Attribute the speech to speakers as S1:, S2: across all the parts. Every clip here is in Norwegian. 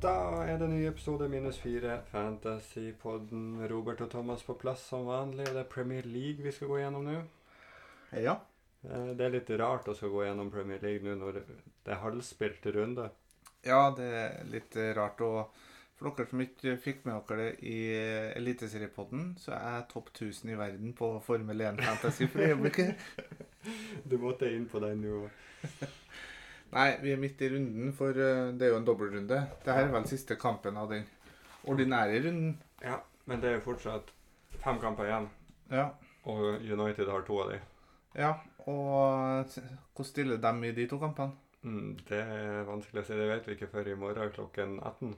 S1: Da er det ny episode minus fire, Fantasypodden. Robert og Thomas på plass som vanlig. Og det er Premier League vi skal gå gjennom nå.
S2: Ja.
S1: Eh, Det er litt rart å skal gå gjennom Premier League nå når det er halvspilt runde.
S2: ja, det er litt eh, rart. Og for dere som ikke fikk med dere det i eh, Eliteseriepodden, så er jeg topp 1000 i verden på Formel 1 Fantasy for øyeblikket.
S1: Du måtte inn på den nå.
S2: Nei, vi er midt i runden, for eh, det er jo en dobbeltrunde. Dette er vel siste kampen av den ordinære runden.
S1: Ja, men det er jo fortsatt fem kamper igjen,
S2: Ja.
S1: og United har to av de.
S2: ja. Og s- hvordan stiller de i de to kampene?
S1: Mm, Det er vanskelig å si, det vet vi ikke før i morgen klokken 18.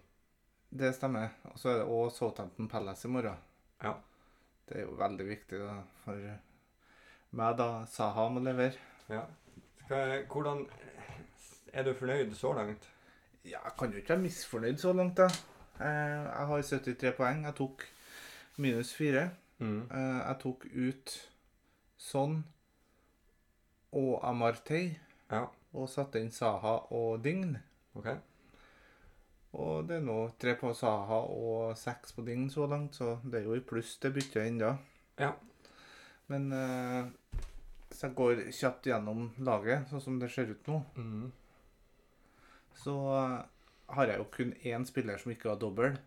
S2: Det stemmer. Og så er det også Southampton Palace i morgen.
S1: Ja.
S2: Det er jo veldig viktig da, for meg, da. Saha må levere.
S1: Ja. Skal jeg, hvordan Er du fornøyd så langt?
S2: Ja, jeg kan jo ikke være misfornøyd så langt, da. Eh, Jeg har 73 poeng. Jeg tok minus 4.
S1: Mm.
S2: Jeg tok ut Son og Amartey.
S1: Ja.
S2: Og satte inn Saha og Dign.
S1: OK.
S2: Og det er nå tre på Saha og seks på Dign så langt, så det er jo i pluss det byttet ennå.
S1: Ja.
S2: Men eh, hvis jeg går kjapt gjennom laget, sånn som det ser ut nå,
S1: Mm.
S2: så eh, har jeg jo kun én spiller som ikke har dobbel,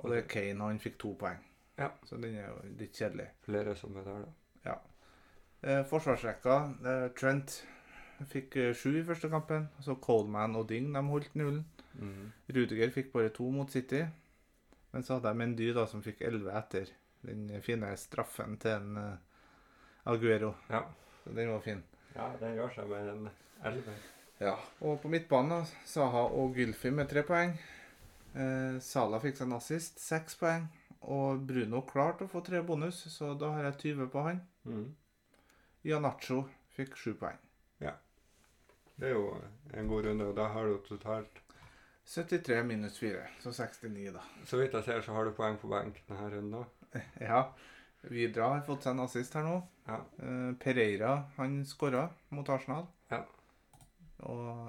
S2: og det er Kane, og han fikk to poeng.
S1: Ja.
S2: Så den er jo litt kjedelig.
S1: Flere som er der, da.
S2: Eh, forsvarsrekka, eh, Trent fikk eh, sju i første kampen, så Coleman og Ding de holdt nullen.
S1: Mm.
S2: Rudiger fikk bare to mot City, men så hadde jeg Mendy da, som fikk elleve etter den fine straffen til en eh, Aguero.
S1: Ja.
S2: Så den var fin.
S1: ja, den gjør seg med en elver.
S2: Ja. Og på midtbanen da, Saha og Gylfi med tre poeng. Eh, Sala fikk seg en assist, seks poeng. Og Bruno klarte å få tre bonus, så da har jeg 20 på han.
S1: Mm.
S2: Janacho fikk sju poeng.
S1: Det er jo en god runde, og da har du totalt
S2: 73 minus 4, så 69, da.
S1: Så vidt jeg ser, så har du poeng på benk denne runden òg.
S2: Ja. Vidra har fått seg en assist her nå.
S1: Ja.
S2: Eh, Pereira han skåra mot Arsenal.
S1: Ja.
S2: Og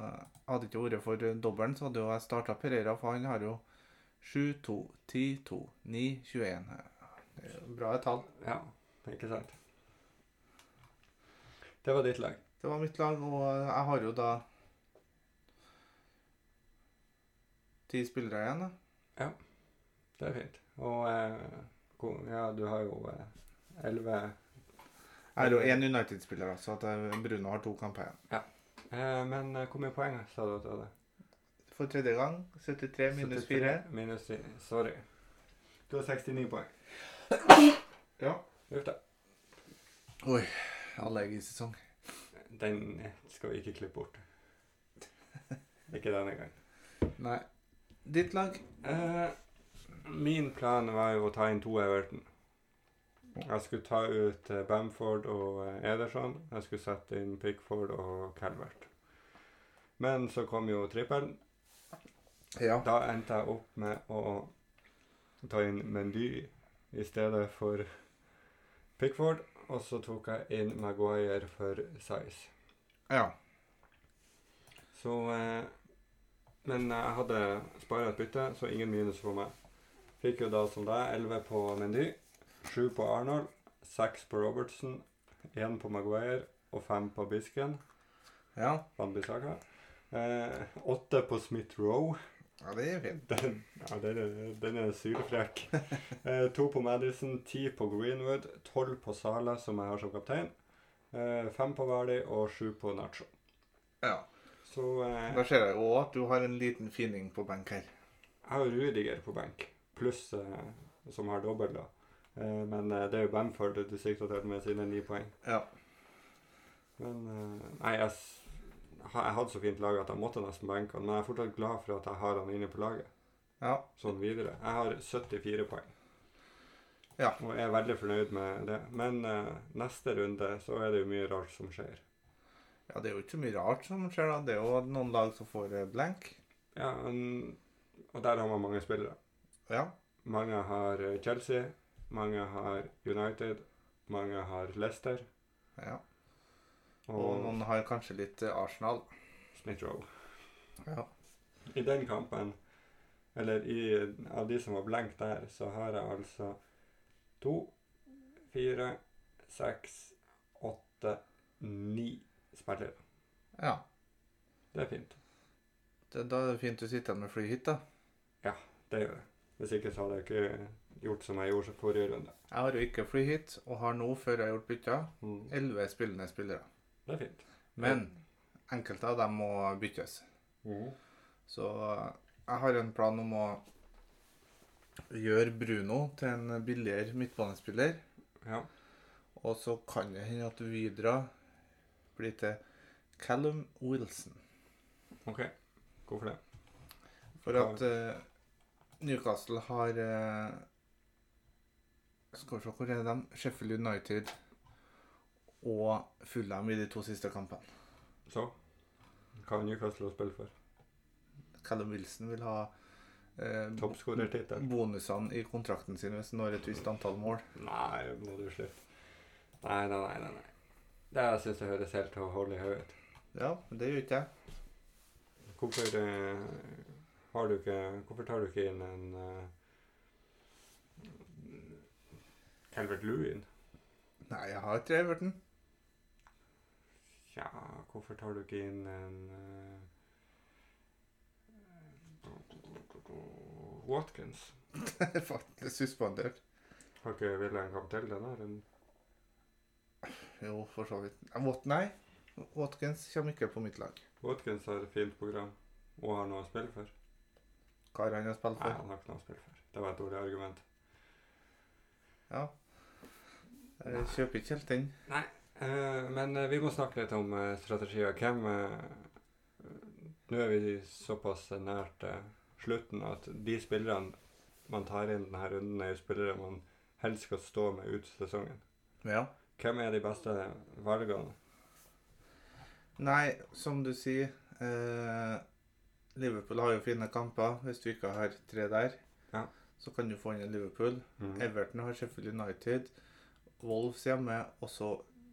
S2: hadde ikke vært for dobbelen, så hadde jo jeg starta Pereira, for han har jo 7, 2, 10, 2, 9, 21. Det er jo bra tall.
S1: Ja, ikke sant? Det var ditt lag.
S2: Det var mitt lag, og jeg har jo da ti spillere igjen. da.
S1: Det er fint. Og eh, ko- ja, du har jo eh, elleve
S2: Jeg har jo én United-spiller, da, så at eh, Bruno har to kamper igjen.
S1: eh, Men eh, hvor mye poeng sa du at du hadde?
S2: For tredje gang 73 minus 4.
S1: 73 Minus 10. Sorry. Du har 69 poeng.
S2: Ja.
S1: Uff da.
S2: Allergisesong.
S1: Den skal vi ikke klippe bort. Ikke denne gang.
S2: Nei. Ditt lag?
S1: Eh, min plan var jo å ta inn to Everton. Jeg skulle ta ut eh, Bamford og eh, Ederson. Jeg skulle sette inn Pickford og Calvert. Men så kom jo trippelen.
S2: Ja.
S1: Da endte jeg opp med å ta inn Mendy i stedet for Pickford. Og så tok jeg inn Maguire for Size.
S2: ja.
S1: Så eh, Men jeg hadde spara et bytte, så ingen minus for meg. Fikk jo da som deg 11 på Mendy, 7 på Arnold, 6 på Robertson, 1 på Maguire og 5 på Bisken.
S2: Ja.
S1: Bambisaka. Eh, 8 på Smith Roe.
S2: Ja, det er fint.
S1: Den, ja, den, er- den er sylfrekk. Eh, 2 på Madison, 10 på Greenwood, 12 på Sala, som jeg har som kaptein. Eh, 5 på Vardy og 7 på Nacho.
S2: Ja.
S1: Så eh,
S2: Da ser jeg jo at du har en liten fining på benk her.
S1: Jeg har jo Rudiger på benk, pluss eh, som har dobbelt, da. Eh, men eh, det er jo Bamford du sikter til med sine ni poeng.
S2: Ja.
S1: Men eh, nei, jeg, s- ha- jeg hadde så fint lag at jeg måtte nesten benke han, men jeg er fortsatt glad for at jeg har han inne på laget.
S2: Ja.
S1: Sånn videre. Jeg har 74 poeng.
S2: Ja.
S1: Og er veldig fornøyd med det. Men eh, neste runde så er det jo mye rart som skjer.
S2: ja, det er jo ikke så mye rart som skjer, da. Det er jo noen lag som får eh, blank.
S1: Ja, men- Og der har man mange spillere.
S2: Ja.
S1: Mange har eh, Chelsea, mange har United, mange har Leicester.
S2: ja. Og
S1: og
S2: noen har kanskje litt eh, Arsenal.
S1: Smith Rowe.
S2: Ja.
S1: I den kampen Eller i, av de som var blank der, så har jeg altså to, fire, seks, åtte, ni spillere.
S2: Ja.
S1: Det er fint.
S2: Det, da er det fint du sitter igjen med flyhytt, da.
S1: Det gjør det. Hvis ikke så hadde jeg ikke gjort som jeg gjorde forrige runde.
S2: Jeg har jo ikke flyhytt, og har nå, før jeg har gjort bytta,
S1: Mm.
S2: elleve spillende spillere.
S1: Det er fint.
S2: Men enkelte av dem må byttes.
S1: Mhm.
S2: Så jeg har en plan om å gjøre Bruno til en billigere midtbanespiller.
S1: Ja.
S2: Og så kan det hende at Vidra blir til Callum Wilson.
S1: OK. Hvorfor det?
S2: For at eh, Newcastle har eh, Skal vi se hvor er de? Sheffield United og Fulham i de to siste kampene.
S1: Så hva har Newcastle å spille for?
S2: Callum Wilson vil ha eh,
S1: Toppskårertittel?
S2: bonusene i kontrakten sin hvis han når et visst antall mål.
S1: Nei, må du slutte. Nei, nei, nei. nei, nei. Det her synes jeg høres helt hårlig ut.
S2: Ja, men det gjør ikke jeg.
S1: Hvorfor, eh, har du ikke, hvorfor tar du ikke inn en eh, Calvert Lewin?
S2: Nei, jeg har tre Everton.
S1: Ja, hvorfor tar du ikke inn en eh, Watkins?
S2: Faktisk suspendert.
S1: Har ikke William en kamp til den her? En-
S2: Jo, for så vidt. Eh, Wat nei. Watkins kommer ikke på mitt lag.
S1: Watkins har et fint program og har noe å spille for.
S2: Hva har han å spille
S1: Nei,
S2: for?
S1: han har ikke noe å spille for. Det var et dårlig argument.
S2: Ja. Jeg kjøper ikke helt den.
S1: Eh, men eh, vi må snakke litt om eh, strategier. Hvem eh, Nå er vi såpass nært eh, slutten at de spillerne man tar inn denne runden, er jo spillere man helst skal stå med ut sesongen.
S2: Ja.
S1: Hvem er de beste valgene?
S2: Nei, som du sier eh, Liverpool har jo fine kamper. Hvis du ikke har tre der,
S1: Ja.
S2: så kan du få inn en Liverpool. Everton har Sheffield United. Wolves hjemme, og så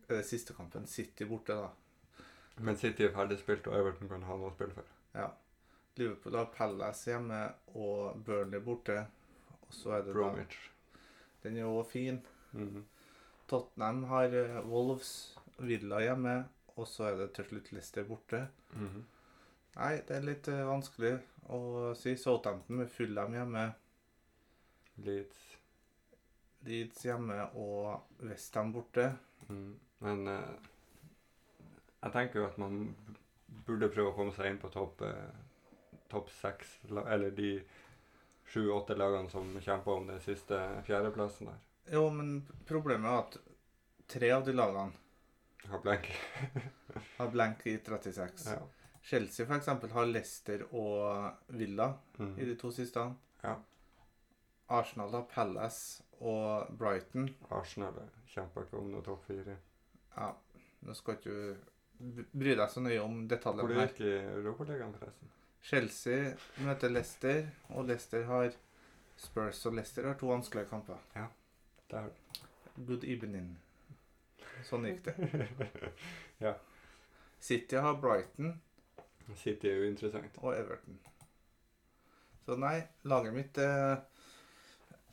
S2: er det siste kampen City borte, da.
S1: Men City er ferdig spilt, og Everton kan ha noe å spille for.
S2: Liverpool har Palace hjemme og Burnley borte. Og så er det da
S1: Bromwich.
S2: Den er jo fin.
S1: Mhm.
S2: Tottenham har eh, Wolves, Villa hjemme, og så er det til slutt Leicester borte.
S1: Mhm.
S2: Nei, det er litt eh, vanskelig å si. Southampton med Fulham hjemme,
S1: Leeds.
S2: Leeds hjemme og Westham borte.
S1: Mm. Men eh, jeg tenker jo at man burde prøve å komme seg inn på topp eh, topp seks, la- eller de sju-åtte lagene som kjemper om den siste fjerdeplassen der.
S2: Jo, men problemet er at tre av de lagene
S1: Har blank.
S2: har blank i 36.
S1: Ja.
S2: Chelsea for eksempel har Leicester og Villa
S1: Mm.
S2: i de to siste.
S1: Ja.
S2: Arsenal har Palace og Brighton.
S1: Arsenal kjemper ikke om noe topp fire.
S2: Ja, nå skal ikke du bry deg så nøye om
S1: Hvor
S2: detaljene
S1: det
S2: her.
S1: gikk i Europaligaen, forresten.
S2: Chelsea møter Leicester, og Leicester har Spurs og Leicester har to vanskelige kamper.
S1: Der.
S2: Good evening. Sånn gikk det.
S1: Ja.
S2: City har Brighton
S1: City er jo interessant.
S2: og Everton. Så nei, laget mitt eh,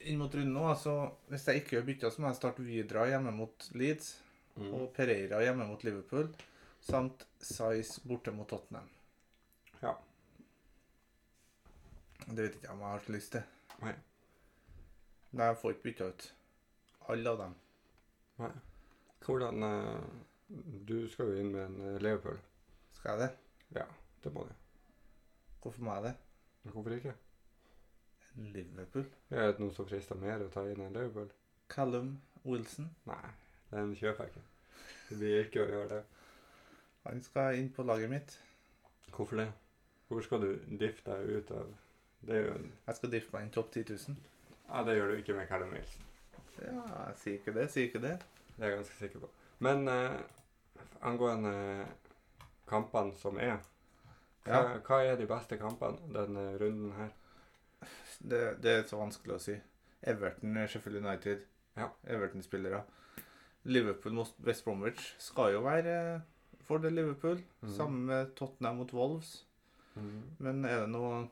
S2: inn mot runden nå, altså hvis jeg ikke gjør bytter, så må jeg starte Vidra hjemme mot Leeds
S1: Mm.
S2: og Pereira hjemme mot Liverpool, samt Size borte mot Tottenham.
S1: Ja.
S2: Det vet ikke jeg om jeg har så lyst til.
S1: Nei.
S2: Nei, jeg får ikke bytta ut alle av dem.
S1: Hvordan eh, Du skal jo inn med en eh, Liverpool.
S2: Skal jeg det?
S1: Det må du.
S2: Hvorfor må jeg det?
S1: Hvorfor ikke?
S2: Liverpool.
S1: Er det noen som frister mer å ta inn en Liverpool?
S2: Callum Wilson.
S1: Nei, den kjøper jeg ikke. Det blir ikke å gjøre det.
S2: Han skal inn på laget mitt.
S1: Hvorfor det? Hvorfor skal du diffe deg ut av Det er jo en
S2: Jeg skal drifte meg inn topp 10 000.
S1: Ja, det gjør du ikke med Callum Wilson.
S2: Ja, jeg sier ikke det, jeg sier ikke det.
S1: Det er jeg ganske sikker på. Men eh, angående eh, kampene som er hva,
S2: Ja.
S1: hva er de beste kampene denne runden her?
S2: det. Det er så vanskelig å si. Everton, Sheffield United.
S1: Ja.
S2: Everton-spillere. Liverpool mot West Bromwich skal jo være eh, for det Liverpool.
S1: Mhm.
S2: Sammen med Tottenham mot Wolves.
S1: Mhm.
S2: Men er det noe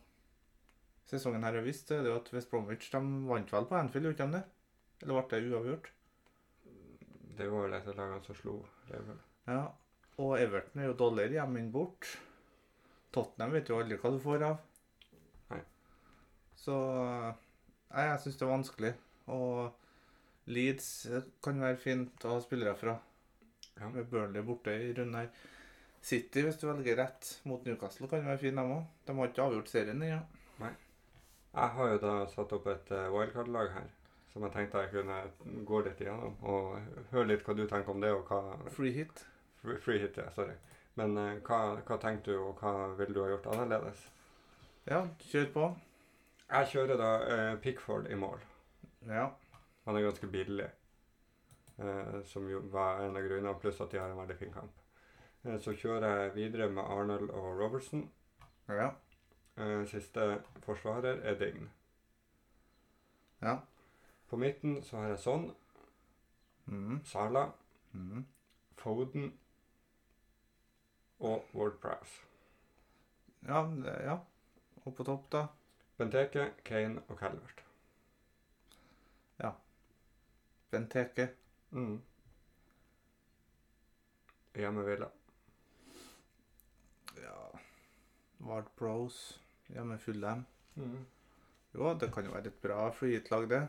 S2: sesongen her har vist, så er det jo at West Bromwich de vant vel på Anfield, gjorde de det? Eller ble det uavgjort?
S1: Det var vel et av lagene som slo Liverpool.
S2: Ja. Og Everton er jo dårligere hjemme enn bort. Tottenham vet jo aldri hva du får av.
S1: Nei.
S2: Så Nei, jeg syns det er vanskelig. Og Leeds kan være fint å ha spillere fra.
S1: Ja.
S2: Med Burnley borte i runden her. City, hvis du velger rett mot Newcastle, kan være fin, dem òg. De har ikke avgjort serien ennå.
S1: Jeg har jo da satt opp et eh, wildcard-lag her, som jeg tenkte jeg kunne gå litt igjennom og høre litt hva du tenker om det, og hva
S2: Free hit.
S1: Free free hit, ja. Sorry. Men eh, hva, hva tenkte du, og hva ville du ha gjort annerledes?
S2: Ja, kjør på.
S1: Jeg kjører da eh, Pickford i mål.
S2: Ja.
S1: Han er ganske billig, eh, som jo var en av grunnene, pluss at de har en veldig fin kamp. Eh, så kjører jeg videre med Arnold og Robertson.
S2: Ja.
S1: Eh, siste forsvarer er Dign.
S2: Ja.
S1: På midten så har jeg Son,
S2: Mm.
S1: Sala,
S2: Mm.
S1: Foden og Ward Prowse.
S2: Ja, det- ja. Og på topp, da.
S1: Benteke, Kane og Calvert.
S2: Benteke.
S1: Mm. Hjemmevilla.
S2: Ja. Ward Pros. Ja, med Fullham.
S1: Mm.
S2: Jo, det kan jo være et bra free hit-lag, det.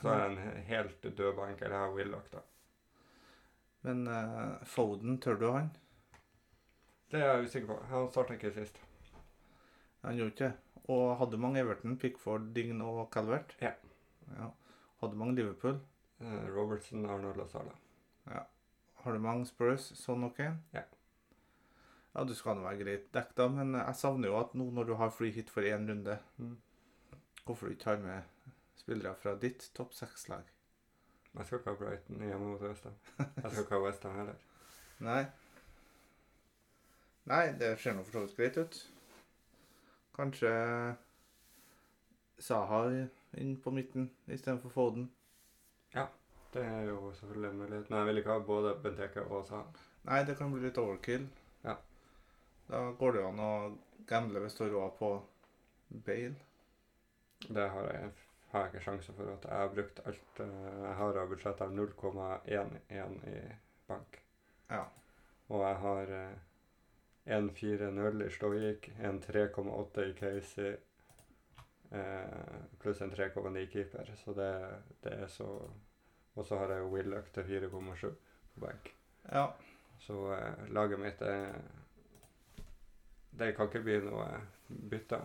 S1: Så er det en he- helt død bank, eller her Willoch, da.
S2: Men eh, Foden, tør du han?
S1: Det er jeg usikker på. Han starta ikke sist.
S2: Han gjorde ikke det. Og hadde mange Everton, Pickford, Dign og Calvert?
S1: Ja.
S2: ja. Hadde mange Liverpool?
S1: Eh, Robertson, Arnold og Sala.
S2: Har du mange Spurs? Sånn ok?
S1: Ja.
S2: Ja, du skal nå være greit dekket da, men jeg savner jo at nå når du har free hit for én runde,
S1: Mm.
S2: hvorfor du ikke har med spillere fra ditt topp seks-lag?
S1: Jeg skal ikke ha Brighton hjemme mot Westham. Jeg skal ikke ha Westham heller.
S2: Nei. Nei, det ser nå for så vidt greit ut. Kanskje Saha inn på midten istedenfor Foden.
S1: Det er jo selvfølgelig en mulighet, men jeg vil ikke ha både Benteke og Sala.
S2: Nei, det kan bli litt overkill.
S1: Ja.
S2: Da går det jo an å gamble hvis du har råd på Bale.
S1: Det har jeg, har jeg ikke sjanse for. at Jeg har brukt alt eh, jeg har av budsjett av 0,11 i bank.
S2: Ja.
S1: Og jeg har eh, 1,40 i Stojik, en 3,8 i Casey, eh, pluss en 3,9 i keeper. Så det, det er så Og så har jeg jo Willoch til 4,7 på benk.
S2: Ja.
S1: Så eh, laget mitt er Det kan ikke bli noe bytte.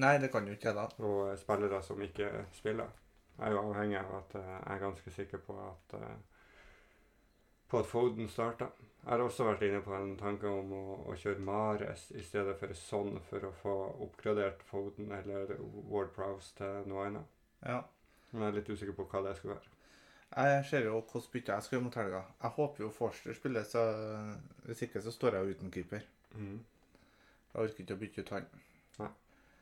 S2: Nei, det kan jo ikke jeg, da.
S1: Og eh, spillere som ikke spiller. Jeg er jo avhengig av at eh, jeg er ganske sikker på at eh, på at Foden starta. Jeg har også vært inne på en tanke om å, å kjøre Mares i stedet for sånn for å få oppgradert Foden eller Ward Prowse til noe annet.
S2: Ja.
S1: Men jeg er litt usikker på hva det skulle være.
S2: Jeg ser jo hvordan bytte jeg skal gjøre mot helga. Jeg håper jo Forster spiller, så hvis ikke så står jeg jo uten keeper.
S1: Mm.
S2: Jeg orker ikke å bytte ut han.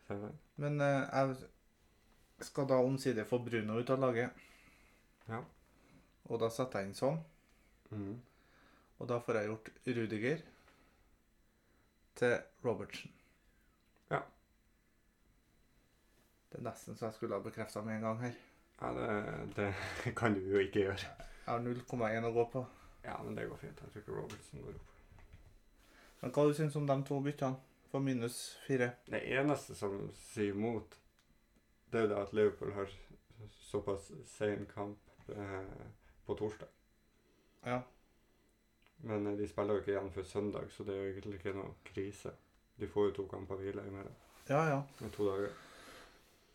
S1: Ser du?
S2: Men eh, jeg skal da omsider få Bruno ut av laget.
S1: Ja.
S2: Og da setter jeg inn sånn.
S1: Mm.
S2: Og da får jeg gjort Rudiger til Robertsen.
S1: Ja.
S2: Det er nesten så jeg skulle ha bekrefta med en gang her.
S1: Ja, det, det kan du jo ikke gjøre.
S2: Jeg har 0,1 å gå på.
S1: Ja, men det går fint. Jeg tror ikke Robertson går opp.
S2: Men hva du syns om de to byttene? For minus fire.
S1: Det eneste som sier imot, det er jo det at Liverpool har såpass sen kamp eh, på torsdag.
S2: Ja.
S1: Men eh, de spiller jo ikke igjen før søndag, så det er jo egentlig ikke noe krise. De får jo to kamper hvile imellom.
S2: Ja, ja.
S1: Med to dager.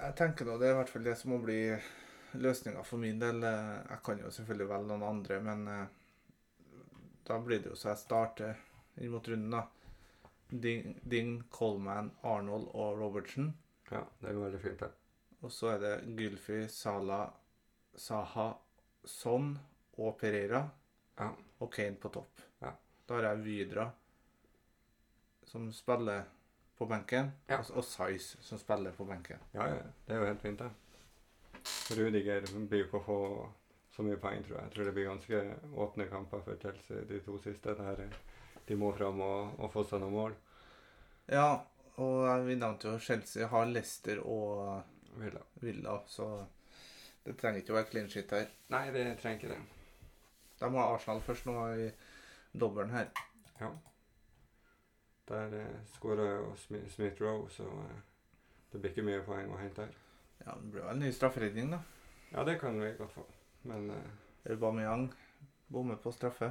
S2: Jeg tenker nå, Det er i hvert fall det som må bli løsninga for min del. Eh, Jeg kan jo selvfølgelig velge noen andre, men eh, da blir det jo så jeg starter inn mot runden, da. Ding, Ding Coleman, Arnold og Robertsen.
S1: Ja, det er jo veldig fint, det.
S2: Og så er det Gylfi, Sala, Saha, Son og Pereira.
S1: Ja.
S2: Og Kane på topp.
S1: Ja.
S2: Da har jeg Vydra, som spiller på benken,
S1: Ja.
S2: og, og Size, som spiller på benken.
S1: Ja, ja, det er jo helt fint, det. Rudiger blir jo ikke å få så mye poeng, tror jeg. Jeg tror det blir ganske åpne kamper for Chelsea de to siste. Der eh, de må fram og, og få seg noen mål.
S2: Ja, Og vi nevnte jo Chelsea har Leicester og
S1: Villa.
S2: Villa, så det trenger ikke å være clean shit her.
S1: Nei, det trenger ikke det.
S2: De har Arsenal først nå i dobbelen her.
S1: Ja. Der eh, skåra jo Smi- Smith Roe, så eh, det blir ikke mye poeng å hente her.
S2: Ja, Det blir vel en ny strafferedning, da.
S1: Ja, det kan vi godt få, men eh,
S2: Aubameyang bommer på straffe.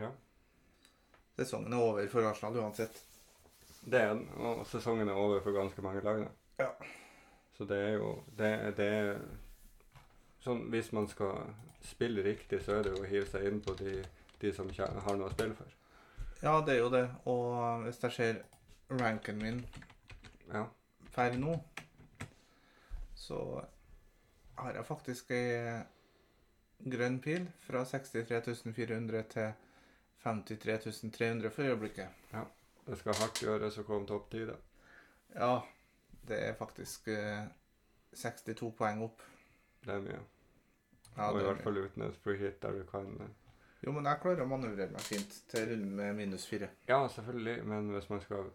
S1: ja.
S2: Sesongen er over for Arsenal uansett.
S1: Det er den, og sesongen er over for ganske mange lag nå.
S2: Ja.
S1: Så det er jo det, er- det er sånn Hvis man skal spille riktig, så er det jo å hive seg inn på de, de som kje- har noe å spille for.
S2: Ja, det er jo det. Og hvis jeg ser ranken min
S1: Ja.
S2: per nå, så har jeg faktisk ei grønn pil fra 63.400 til 53.300 for øyeblikket.
S1: Det skal hardt gjøres å komme topp ti, da.
S2: Ja, det er faktisk eh, 62 poeng opp.
S1: Det er mye.
S2: Ja,
S1: og i
S2: det er
S1: hvert fall uten et free hit der du kan eh,
S2: mye. Jo, men jeg klarer å manøvrere meg fint til runden med minus fire.
S1: Ja, selvfølgelig, men hvis man skal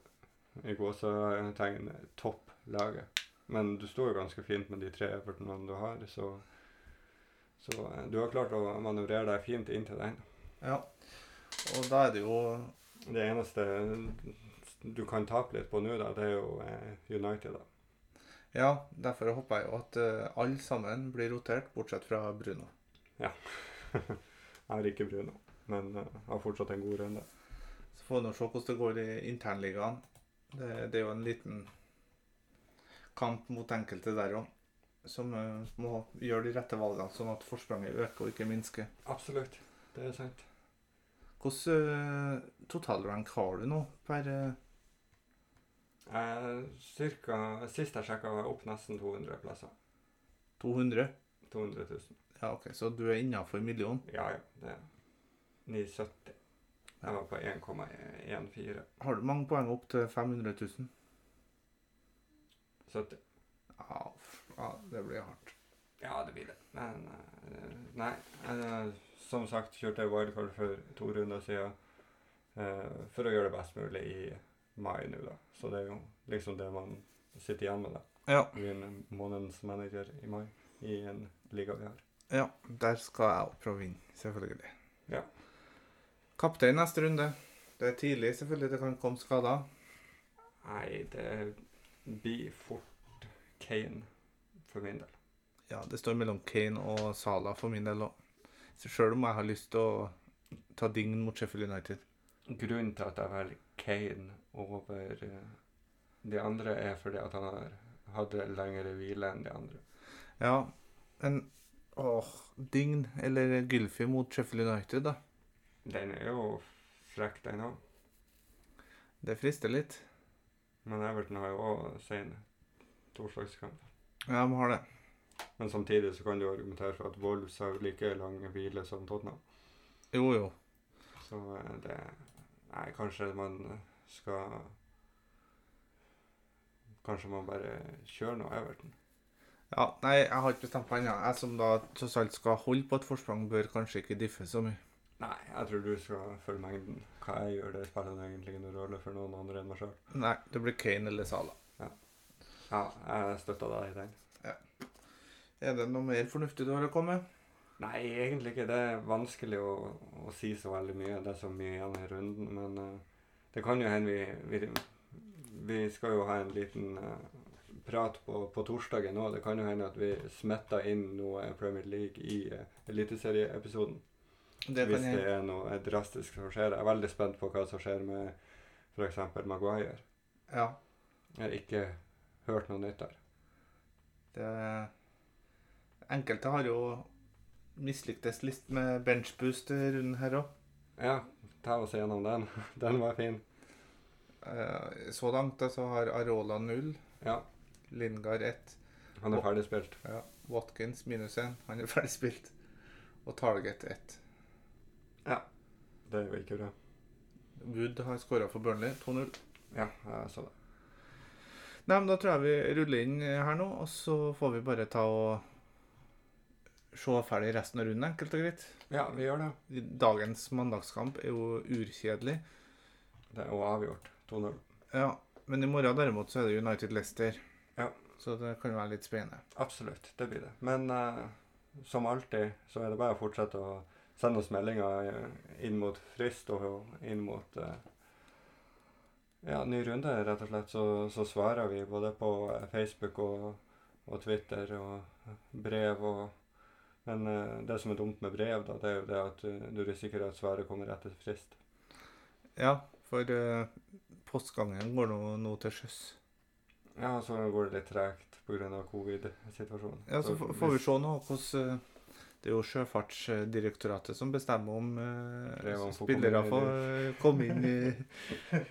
S1: i gåsetegn topplaget Men du står jo ganske fint med de tre Everton-ene du har, så, så eh, du har klart å manøvrere deg fint inn til den.
S2: Ja, og da er det jo
S1: Det eneste du kan tape litt på nå, da, det er jo eh, United. da.
S2: Ja, derfor håper jeg jo at eh, alle sammen blir rotert, bortsett fra Bruno.
S1: Jeg har ikke Bruno, men eh, har fortsatt en god runde.
S2: Så får vi nå se hvordan det går i internligaen. Det, det er jo en liten kamp mot enkelte der òg, som eh, må gjøre de rette valgene, sånn at forspranget øker og ikke minsker.
S1: Absolutt. Det er sant.
S2: Hvordan eh, totalrank har du nå per eh,
S1: Eh, cirka, sist jeg sjekka, var jeg opp nesten 200 plasser.
S2: 200?
S1: 200 000.
S2: Ja, OK, så du er innafor million.
S1: Ja, ja. Det er 970. Jeg var på 1,14.
S2: Har du mange poeng opp til 500 000?
S1: 70.
S2: Ja, uff, ja det blir hardt.
S1: Ja, det blir det. Men eh, nei. eh, som sagt kjørte jeg wildcard for to runder siden eh, for å gjøre det best mulig i mai nå, da. Så det er jo liksom det man sitter igjen med, da.
S2: Ja.
S1: Min månedens manager i mai i en liga vi har.
S2: Ja, der skal jeg opp og vinne, selvfølgelig.
S1: Ja.
S2: Kaptein neste runde. Det er tidlig, selvfølgelig. Det kan komme skader.
S1: Nei, det blir fort Kane for min del.
S2: Ja, det står mellom Kane og Salah for min del òg. Sjøl om jeg har lyst til å ta dignen mot Sheffield United.
S1: Grunnen til at jeg velger Kane over eh, de andre, er fordi at han har hadde lengre hvile enn de andre.
S2: Ja, men åh, dign eller Gylfi mot Sheffield United, da.
S1: Den er jo frekk, den òg.
S2: Det frister litt.
S1: Men Everton har jo òg sen torsdagskamp.
S2: Ja, vi har det.
S1: Men samtidig så kan du argumentere for at Wolves har like lang hvile som Tottenham.
S2: Jo, jo.
S1: Så eh, det Nei, kanskje man skal Kanskje man bare kjører nå Everton.
S2: Ja, Nei, jeg har ikke bestemt meg ennå. Jeg som da tross alt skal holde på et forsprang, bør kanskje ikke diffe så mye.
S1: Nei, jeg tror du skal følge mengden. Hva jeg gjør, det spiller egentlig ingen rolle for noen andre enn meg sjøl.
S2: Nei, det blir Kane eller Salah.
S1: Ja, jeg støtter deg i den.
S2: Er det noe mer fornuftig du har å komme med?
S1: Nei, egentlig ikke. Det er vanskelig å, å si så veldig mye. Det er så mye igjen i runden. Men eh, det kan jo hende vi, vi, vi skal jo ha en liten eh, prat på, på torsdagen nå. Det kan jo hende at vi smetter inn noe Premier League i uh, eliteserieepisoden.
S2: Det
S1: Hvis det er noe eh, drastisk som skjer. Jeg er veldig spent på hva som skjer med f.eks. Maguire.
S2: Ja,
S1: Jeg har ikke hørt noe nytt der.
S2: det Enkelte har jo mislyktes litt med benchboost i runden her òg.
S1: Ja, ta oss gjennom den. Den var fin.
S2: Eh, Så langt da, så har Arola null,
S1: Ja,
S2: Lingard ett,
S1: han er ferdigspilt.
S2: Watkins minus én, han er ferdig spilt, og Target ett.
S1: Det er jo ikke bra.
S2: Wood har skåra for Burnley 2-0.
S1: Ja, jeg så det.
S2: Nei, men da tror jeg vi ruller inn eh, her nå, og så får vi bare ta og se ferdig resten av runden, enkelt og greit.
S1: Ja, vi gjør det.
S2: Dagens mandagskamp er jo urkjedelig.
S1: Det er jo avgjort. 2-0.
S2: Ja, Men i morgen derimot så er det United Leicester.
S1: Ja.
S2: Så det kan være litt spennende.
S1: Absolutt, det blir det. Men eh, som alltid så er det bare å fortsette å sende oss meldinger eh, inn mot frist og inn mot eh, ja, ny runde, rett og slett. Så, så svarer vi både på eh, Facebook og, og Twitter og brev og Men eh, det som er dumt med brev, da, det er jo det at eh, du risikerer at svaret kommer etter frist.
S2: Ja, for eh, postgangen går nå, nå til sjøs.
S1: Ja, og så går det litt tregt pga. covid-situasjonen.
S2: Ja, så får- får vi se nå hvordan eh, Det er jo Sjøfartsdirektoratet som bestemmer om eh,
S1: Brevene får komme
S2: spillere
S1: inn i-
S2: får eh, komme inn i,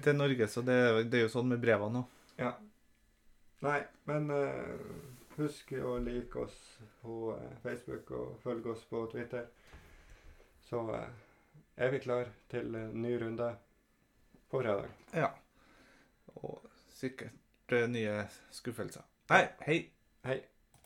S2: til Norge. Så det, er- det er jo sånn med brevene nå.
S1: Nei, men eh, husk å like oss på eh, Facebook og følge oss på Twitter. Så eh, er vi klar til en ny runde på fredag.
S2: Ja. Og sikkert eh, nye skuffelser. Nei, hei!
S1: Hei.